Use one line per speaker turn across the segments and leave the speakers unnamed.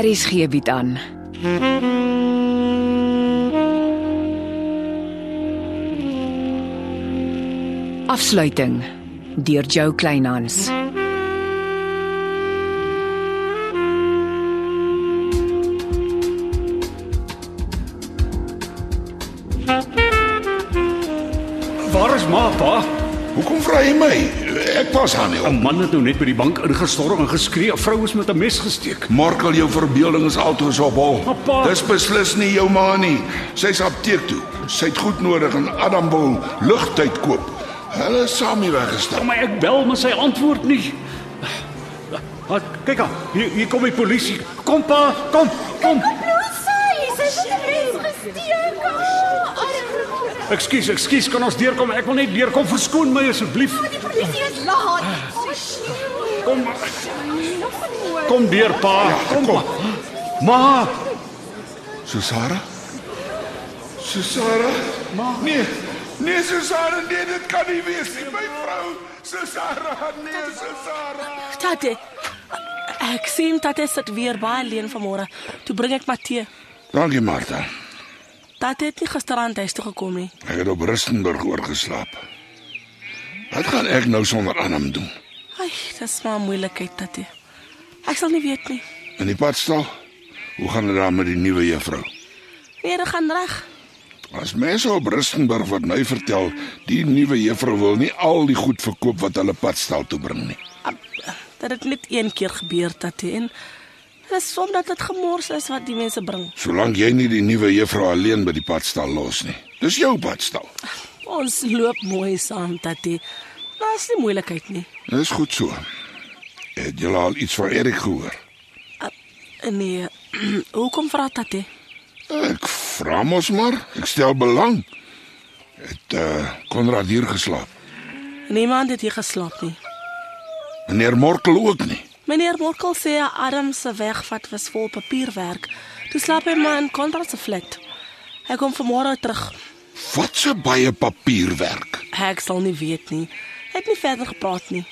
RSG Er bied aan. Afsluiting deur Jo Kleinhans.
Waar is ma pa?
Hoekom vra jy my? Ek was aan nie.
'n Man het nou net by die bank ingestorm en geskree, 'n vrou is met 'n mes gesteek.
Markel jou verbeelding is altoos op hol.
Maar pa-
Dis beslis nie jou ma nie. Sy's apteek toe. Sy't goed nodig en Adam wil lugtyd koop. Hulle is saam hier weggestap.
Maar ek bel, maar sy antwoord nie. Wat? Kyk aan. Hier, hier kom die polisie. Kom pa, kom, kom. Ekskuus, ekskuus, kan ons deurkom? Ek wil net deurkom. Verskoon my asseblief. Kom, kom deur pa.
Ja,
Kom. pa. Ma,
Susara? Susara? Ma. Nee. Nee Susara, nee, dit kan nie wees nie, my vrou. Susara, nee Susara.
Tate. Ek sien Tate sit weer baie alleen vanmôre. Toe bring ek maar tee.
Dankie Martha.
Tate het nie gisterand huis toe gekom nie.
Ek het op Rustenburg oorgeslaap. Wat gaan ek nou sonder Adam doen?
Ai, dis maar 'n moeilikheid, Tate. Ek sal nie weet nie.
In die padstal? Hoe gaan dit daar met die nuwe juffrou?
Nee, dit gaan reg.
As mense op Rustenburg wat my vertel, die nuwe juffrou wil nie al die goed verkoop wat hulle padstal toe bring nie.
Ab- Dat dit net een keer gebeur, Tate, en dis omdat dit gemors is wat die mense bring.
Solank jy nie die nuwe juffrou alleen by die padstal los nie. Dis jou padstal.
Ons loop mooi saam, Tate. Daar's nie moeilikheid nie.
Dis goed so. Het jy al iets van Erik gehoor?
Ab- Nee, hoekom vra Tate?
Ek vra mos maar. Ek stel belang. Het eh uh, Konrad hier geslaap?
Niemand het hier geslaap nie.
Meneer Morkel ook nie.
Meneer Morkel sê Adam se wegvat was vol papierwerk. Toe slaap hy maar in Konrad se flat. Hy kom vanmôre terug.
Wat se baie papierwerk.
Ek sal nie weet nie. Hy het nie verder gepraat nie.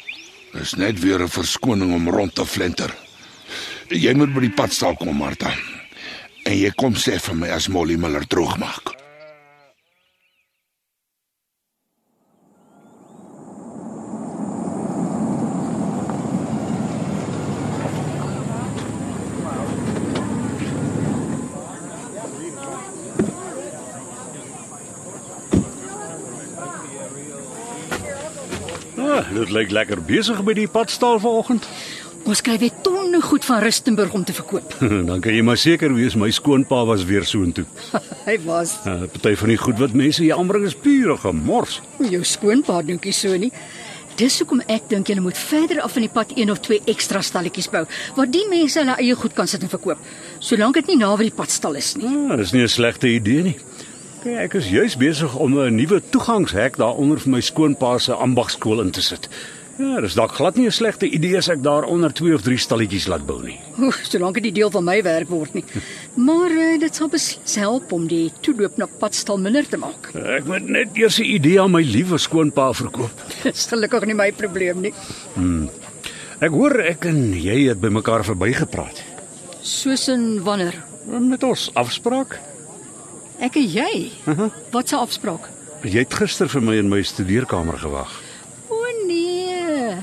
Dis net weer 'n verskoning om rond te flenter. Jy moet by die padstal kom, Martha. En jy kom sê vir my as Molly Miller droog maak.
ah, dit lyk lekker besig by die padstal vanoggend.
Ons kry weer tonne goed van Rustenburg om te verkoop.
Dan kan jy maar seker wees my skoonpa was weer soontoe.
Hy was
Uh, party van die goed wat mense hier aanbring is pure gemors.
jou skoonpa dinkie so nie. Dis hoekom ek dink jy moet verder af van die pad een of twee ekstra stalletjies bou waar die mense hulle eie goed kan sit en verkoop, solank dit nie naby die padstal is nie.
Ah, dis nie 'n slegte idee nie. Kyk, ek is juis besig om 'n nuwe toegangshek daaronder vir my skoonpa se ambagskool in te sit. Ja, dis dalk glad nie 'n slegte idee as ek daaronder twee of drie stalletjies laat bou nie.
Oef, solank dit nie deel van my werk word nie. Maar uh, dit sal beslis help om die toeloop na padstal minder te maak.
Ek moet net eers 'n idee aan my liewe skoonpa verkoop.
Dis gelukkig nie my probleem nie.
Ek hoor ek en jy het bymekaar verbygepraat.
Soos en wanneer?
Met ons afspraak.
Ek en jy. Wat 'n afspraak.
Jy het gister vir my in my studeerkamer gewag.
O nee.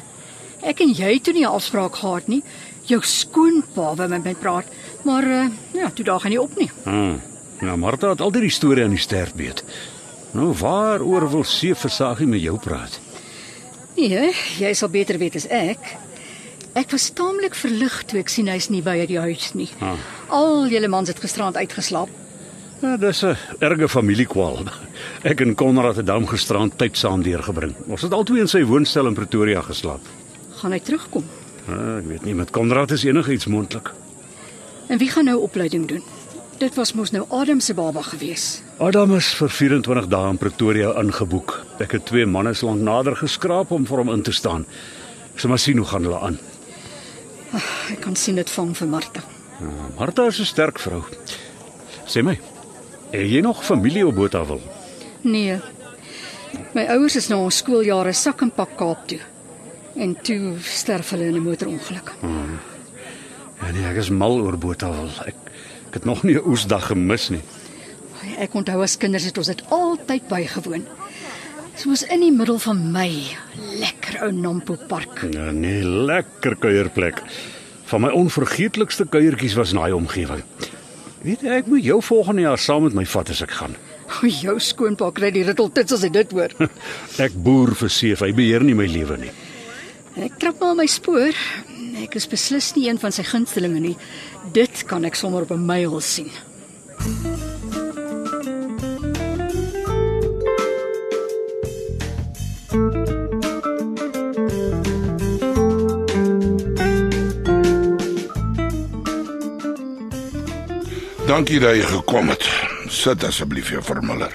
Ek en jy toe nie 'n afspraak gehad nie. Jou skoonpa wou met my praat, maar uh, ja, toe daag hy nie op nie.
Hmm. Nou Martha het altyd die storie aan die sterf weet. Nou waaroor wil Seef Versagie met jou praat?
Nee, jy sal beter weet as ek. Ek was taamlik verlig toe ek sien hy's nie by die huis nie.
Ah.
Al julle mans het gisterand uitgeslaap.
Ja, dis 'n erge familiekwaal. Ek en Konrad het daarom gisterand tyd saam deurgebring. Ons het albei in sy woonstel in Pretoria geslaap.
Gaan hy terugkom?
Ah, ek weet nie met Konrad is enigiets moontlik.
En wie gaan nou opleiding doen? Dit was mos nou Adam se baba gewees.
Adam is vir 24 dae in Pretoria ingeboek. Ek het twee manne lank nader geskraap om vir hom in te staan. Ons maar sien hoe gaan hulle aan.
Ek kan sien dit vang vir Martha.
Martha is 'n sterk vrou. Sê my, het jy nog familie op Botawil?
Nee. My ouers is na ons skooljare sak en pak Kaap toe. En toe sterf hulle in 'n motorongeluk.
Ja, nee, ek is mal oor Botawil. Ek ek het nog nie 'n oesdag gemis nie.
Ai, Ek onthou as kinders het ons dit altyd bygewoon. Soos in die middel van Mei, lekker ou Nampo Park.
Ja, nee, lekker kuierplek. Van my onvergeetlikste kuiertjies was in daai omgewing. Weet jy, ek moet jou volgende jaar saam met my vat as ek gaan.
O, jou skoonpa kry die ritteltits as hy dit hoor.
Ek boer vir seef, hy beheer nie my lewe nie.
Ek trap maar my spoor. Ek is beslis nie een van sy gunstelinge nie. Dit kan ek sommer op 'n myl sien.
Dankie dat jy gekom het. Sit asseblief jou vermiller.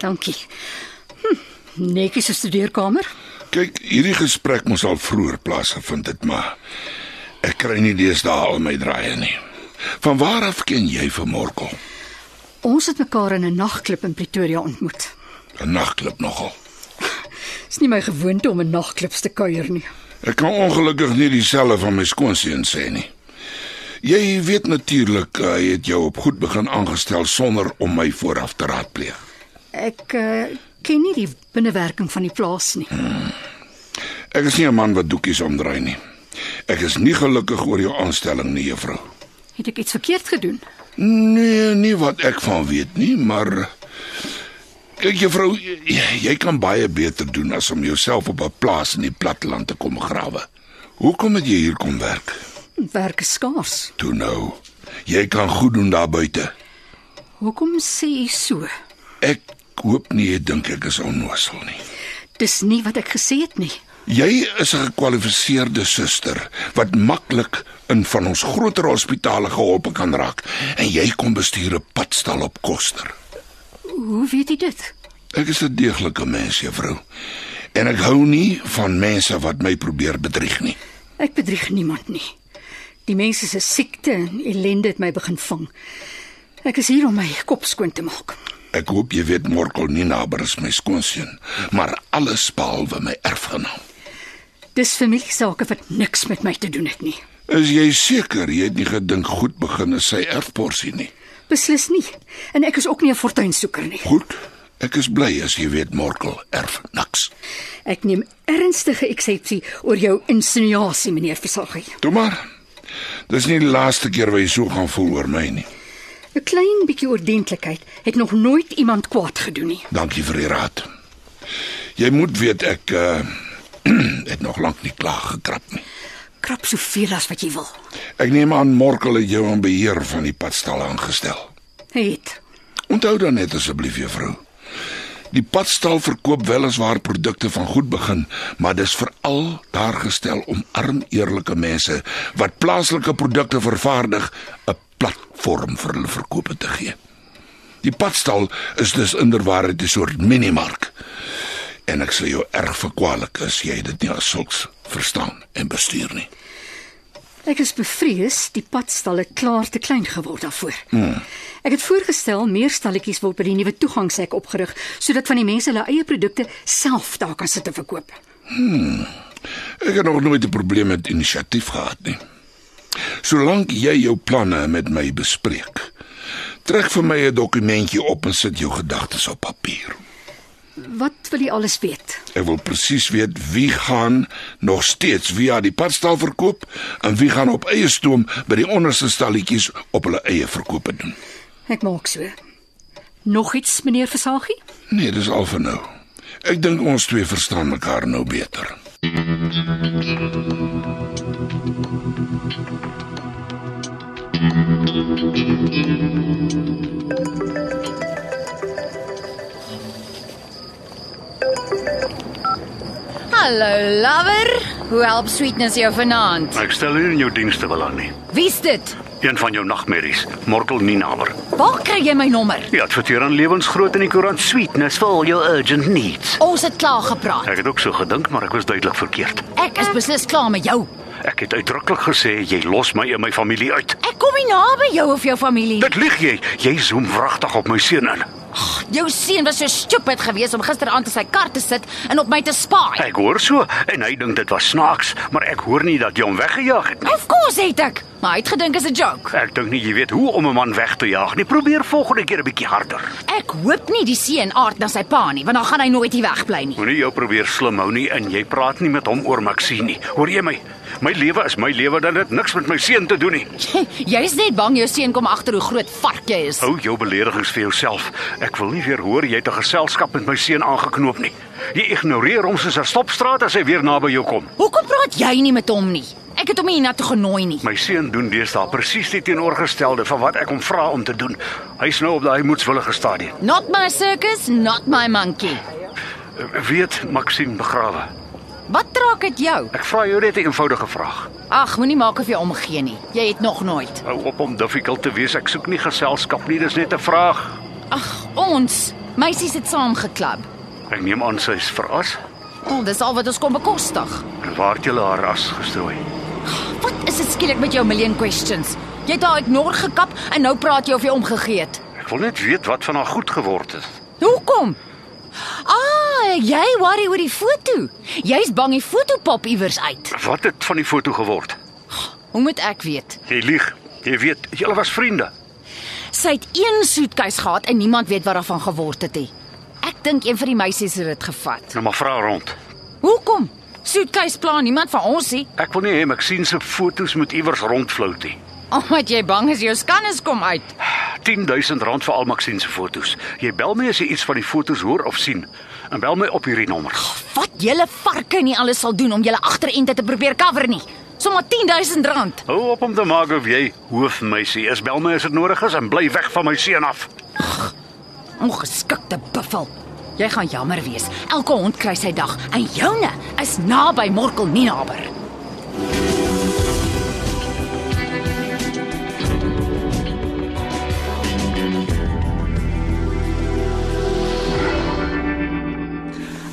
Dankie. Hm, netjie se studeerkamer.
Kyk, hierdie gesprek moes al vroeër plaasgevind het, maar ek kry nie deesdae al my draaie nie. Van waar af ken jy vir Morkel?
Ons het mekaar in 'n nagklub in Pretoria ontmoet.
'n Nagklub nogal.
Dis nie my gewoonte om in nagklubs te kuier nie.
Ek kan ongelukkig nie dieselfde van my skoonseun sê nie. Jy weet natuurlik, uh, hy het jou op goed begin aangestel sonder om my vooraf te raadpleeg.
Ek uh, ken nie die binnewerking van die plaas nie.
Ek is nie 'n man wat doekies omdraai nie. Ek is nie gelukkig oor jou aanstelling nie, juffrou.
Het ek iets verkeerd gedoen?
Nee, nie wat ek van weet nie, maar kyk juffrou, jy, jy kan baie beter doen as om jouself op 'n plaas in die platteland te kom grawe. Hoekom het jy hier kom werk?
Werk is skaars.
Toe nou. Jy kan goed doen daar buite.
Hoekom sê jy so?
Ek hoop nie jy dink ek is onnoosel nie.
Dis nie wat ek gesê het nie.
Jy is 'n gekwalifiseerde suster wat maklik in van ons groter hospitale geholpe kan raak en jy kom bestuur 'n padstal op koster.
Hoe weet jy dit?
Ek is 'n deeglike mens, juffrou. En ek hou nie van mense wat my probeer bedrieg nie.
Ek bedrieg niemand nie. Die mense se siekte en ellende het my begin vang. Ek is hier om my kop skoon te maak.
Ek hoop jy weet Morkel nie naby is my skoonseun, maar alles behalwe my erfgenaam.
Dis familiesake wat niks met my te doen het nie.
Is jy seker jy het nie gedink goed begin is sy erfporsie nie?
Beslis nie. En ek is ook nie 'n fortuinsoeker nie.
Goed, ek is bly as jy weet Morkel erf niks.
Ek neem ernstige eksepsie oor jou insinuasie, meneer Versagie.
Toe maar. Dis nie die laaste keer wat jy so gaan voel oor my nie.
'n Klein bietjie ordentlikheid het nog nooit iemand kwaad gedoen nie.
Dankie vir die raad. Jy moet weet ek uh, het nog lank nie klaar gekrap nie.
Krap soveel as wat jy wil.
Ek neem aan Morkel het jou in beheer van die padstal aangestel.
Het.
Onthou dan net asseblief juffrou. Die padstal verkoop weliswaar produkte van goed begin, maar dis veral daar gestel om arm eerlike mense wat plaaslike produkte vervaardig 'n platform vir hulle verkope te gee. Die padstal is dus inderwaarheid 'n soort minimark. En ek sê jou erg verkwalik as jy dit nie as sulks verstaan en bestuur nie.
Ek is bevrees die padstal het klaar te klein geword daarvoor. Mm. Ek het voorgestel meer stalletjies word by die nuwe toegangshek opgerig sodat van die mense hulle eie produkte self daar kan sit en verkoop.
Ek het nog nooit 'n probleem met inisiatief gehad nie. Solank jy jou planne met my bespreek, trek vir my 'n dokumentjie op en sit jou gedagtes op papier.
Wat wil jy alles weet?
Ek wil presies weet wie gaan nog steeds via die padstal verkoop en wie gaan op eie stoom by die onderste stalletjies op hulle eie verkope doen.
Ek maak so. Nog iets, meneer Versagie?
Nee, dis al vir nou. Ek dink ons twee verstaan mekaar nou beter.
Hallo lover, hoe help sweetness jou vanaand?
Ek stel hier in jou dienste wil aan nie.
Wie's dit?
Een van jou nagmerries, Morkel Ninaber.
Waar kry jy my nommer?
Jy adverteer aan lewensgroot in die koerant Sweetness for all your urgent needs.
Ons het klaar gepraat.
Ek het ook so gedink, maar ek was duidelik verkeerd.
Ek is beslis klaar met jou.
Ek het uitdruklik gesê jy los my en my familie uit.
Ek kom nie naby jou of jou familie.
Dit lieg jy. Jy zoom wragtig op my seun in.
Jou seun was so stupid geweest om gisteraand in sy kar te sit en op my te spaai.
Ek hoor so en hy dink dit was snaaks, maar ek hoor nie dat jy hom weggejaag het nie.
Of course het ek, maar hy het gedink is 'n joke.
Ek dink nie jy weet hoe om 'n man weg te jaag nie. Probeer volgende keer 'n bietjie harder.
Ek hoop nie die seun aard na sy pa nie, want dan gaan hy nooit hier wegbly nie.
Moenie jou probeer slim hou nie en jy praat nie met hom oor Maxine nie. Hoor jy my? My lewe is my lewe, dit het niks met my seun te doen nie.
Jy's net bang jou seun kom agter hoe groot vark jy is.
Hou jou beledigings vir jouself. Ek wil nie weer hoor jy het 'n geselskap met my seun aangeknoop nie. Jy ignoreer hom soos 'n stopstraat as hy weer naby jou kom.
Hoekom praat jy nie met hom nie? Ek het hom nie hiernatoe genooi nie.
My seun doen deesdae presies die teenoorgestelde van wat ek hom vra om te doen. Hy's nou op daai moedswillige stadium.
Not my circus, not my monkey.
Weet Maxine begrawe.
Wat raak dit jou?
Ek vra jou net 'n eenvoudige vraag.
Ag, moenie maak of jy omgee nie. Jy het nog nooit.
Hou op om difficult te wees. Ek soek nie geselskap nie, dis net 'n vraag.
Ag, ons meisies het saam geklub.
Ek neem aan sy is verras.
Wel, dis al wat ons kon bekostig.
En Waar het jy haar ras gestrooi?
Wat is dit skielik met jou million questions? Jy het haar ignor gekap en nou praat jy of jy omgegee het.
Ek wil net weet wat van haar goed geword het.
Hoekom? Ah, jy worry oor die foto. Jy's bang die foto pop iewers uit.
Wat het van die foto geword?
Hoe moet ek weet?
Jy lieg. Jy weet, julle was vriende.
Sy het een soetkuis gehad en niemand weet wat daarvan geword het nie. Ek dink een van die meisies het dit gevat.
Nou maar vra rond.
Hoekom? Soetkuis pla niemand van ons nie.
Ek wil nie hê ek sien se foto's moet iewers rondflout nie.
Omdat jy bang is jou skannes kom uit.
R10000 vir al Maxine se foto's. Jy bel my as jy iets van die foto's hoor of sien. En bel my op hierdie nommer.
Wat julle varke nie alles sal doen om julle agterende te probeer cover nie. Sommige 10000 rand.
Hou op om te maak of jy hoofmeisie is. Bel my as dit nodig is en bly weg van my seun af.
Ongeskikte buffel. Jy gaan jammer wees. Elke hond kry sy dag en joune is naby Morkel nie naber.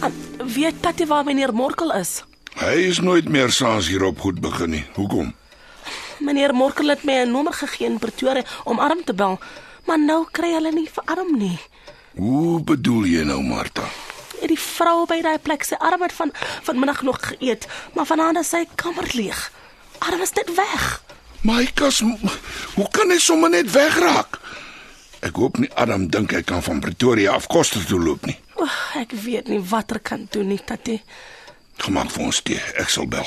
Ah, Weet Tatie waar meneer Morkel is?
Hy is nooit meer saas hierop goed begin nie. Hoekom?
Meneer Morkel het my 'n nommer gegee in Pretoria om Arm te bel, maar nou kry hulle nie vir Arm nie.
Hoe bedoel jy nou, Martha?
Het die vrou by daai plek sy Arm het van vanmiddag nog geëet, maar vanaand is sy kamer leeg. Arm is dit weg.
My kas, hoe kan hy sommer net wegraak? Ek hoop nie Adam dink hy kan van Pretoria af koste toe loop nie.
O, ek weet nie wat ek kan doen nie, Tatie.
Gemaak vir ons tee. Ek sal bel.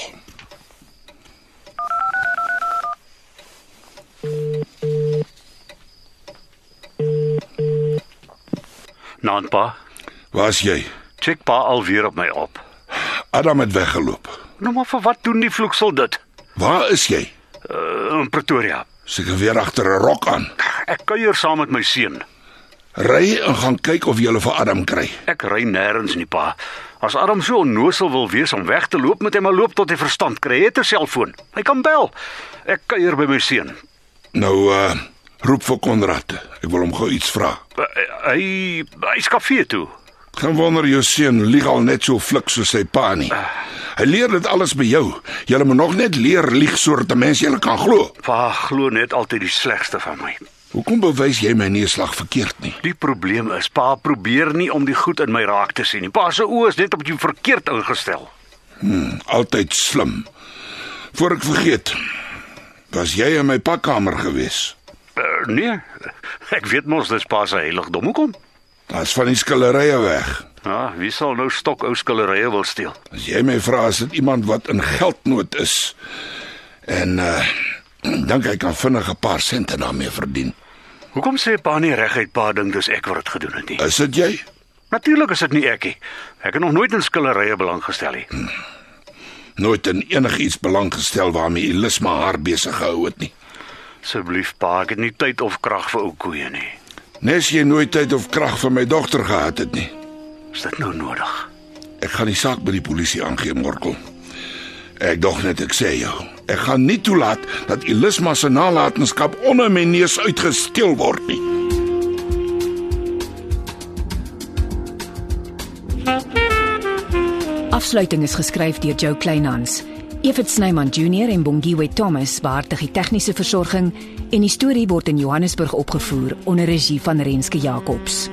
Naanpa,
Waar's jy?
Nou, check pa alweer op my op.
Adam het weggeloop.
Nou maar vir wat doen die vloeksel dit?
Waar is jy?
Uh, in Pretoria.
Seker weer agter 'n rok aan.
Ek kuier saam met my seun.
Ry en gaan kyk of jy hulle vir Adam kry.
Ek ry nêrens nie, pa. As Adam so onnosel wil wees om weg te loop, moet hy maar loop tot hy verstand kry. Hy het 'n selfoon. Hy kan bel. Ek kuier by my seun.
Nou uh roep vir Konrad. Ek wil hom gou iets vra.
Uh, Hy hy's kafee toe.
Geen wonder jou seun lieg al net so flik soos sy pa nie. Hy leer dit alles by jou. Jy moet nog net leer lieg sodat 'n mens julle kan glo.
Pa glo net altyd die slegste van my.
Hoekom bewys jy my neerslag verkeerd nie?
Die probleem is, pa probeer nie om die goed in my raak te sien nie. Pa se oë is net op jou verkeerd ingestel.
Altyd slim. Voor ek vergeet. Was jy in my pakkamer gewees?
Uh, nee. Ek weet mos dis pa se heiligdom. Hoekom?
Daar's van die skillerye weg.
Ja, wie sal nou stok ou skillerye wil steel?
As jy my vra as dit iemand wat in geldnood is en uh dink hy kan vinnig 'n paar sente daarmee verdien.
Hoekom sê pa nie reguit pa dink dis ek wat dit gedoen het nie?
Is dit jy?
Natuurlik is dit nie ek nie. Ek het nog nooit in skillerye belang gestel nie.
Nooit in enigiets belang gestel waarmee Elisma haar besig gehou het nie.
Asseblief pa, ek het nie tyd of krag vir ou koeie nie.
Nes jy nooit tyd of krag vir my dogter gehad het nie.
Is dit nou nodig?
Ek gaan die saak by die polisie aangee, Morkel. Ek dog net ek sê jou, ek gaan nie toelaat dat Elisma se nalatenskap onder my neus uitgesteel word nie.
Afsluiting is geskryf deur Jo Kleinhans.
Evit Snyman Junior en Bongiwe Thomas behartig die tegniese versorging en die storie word in Johannesburg opgevoer onder regie van Renske Jacobs.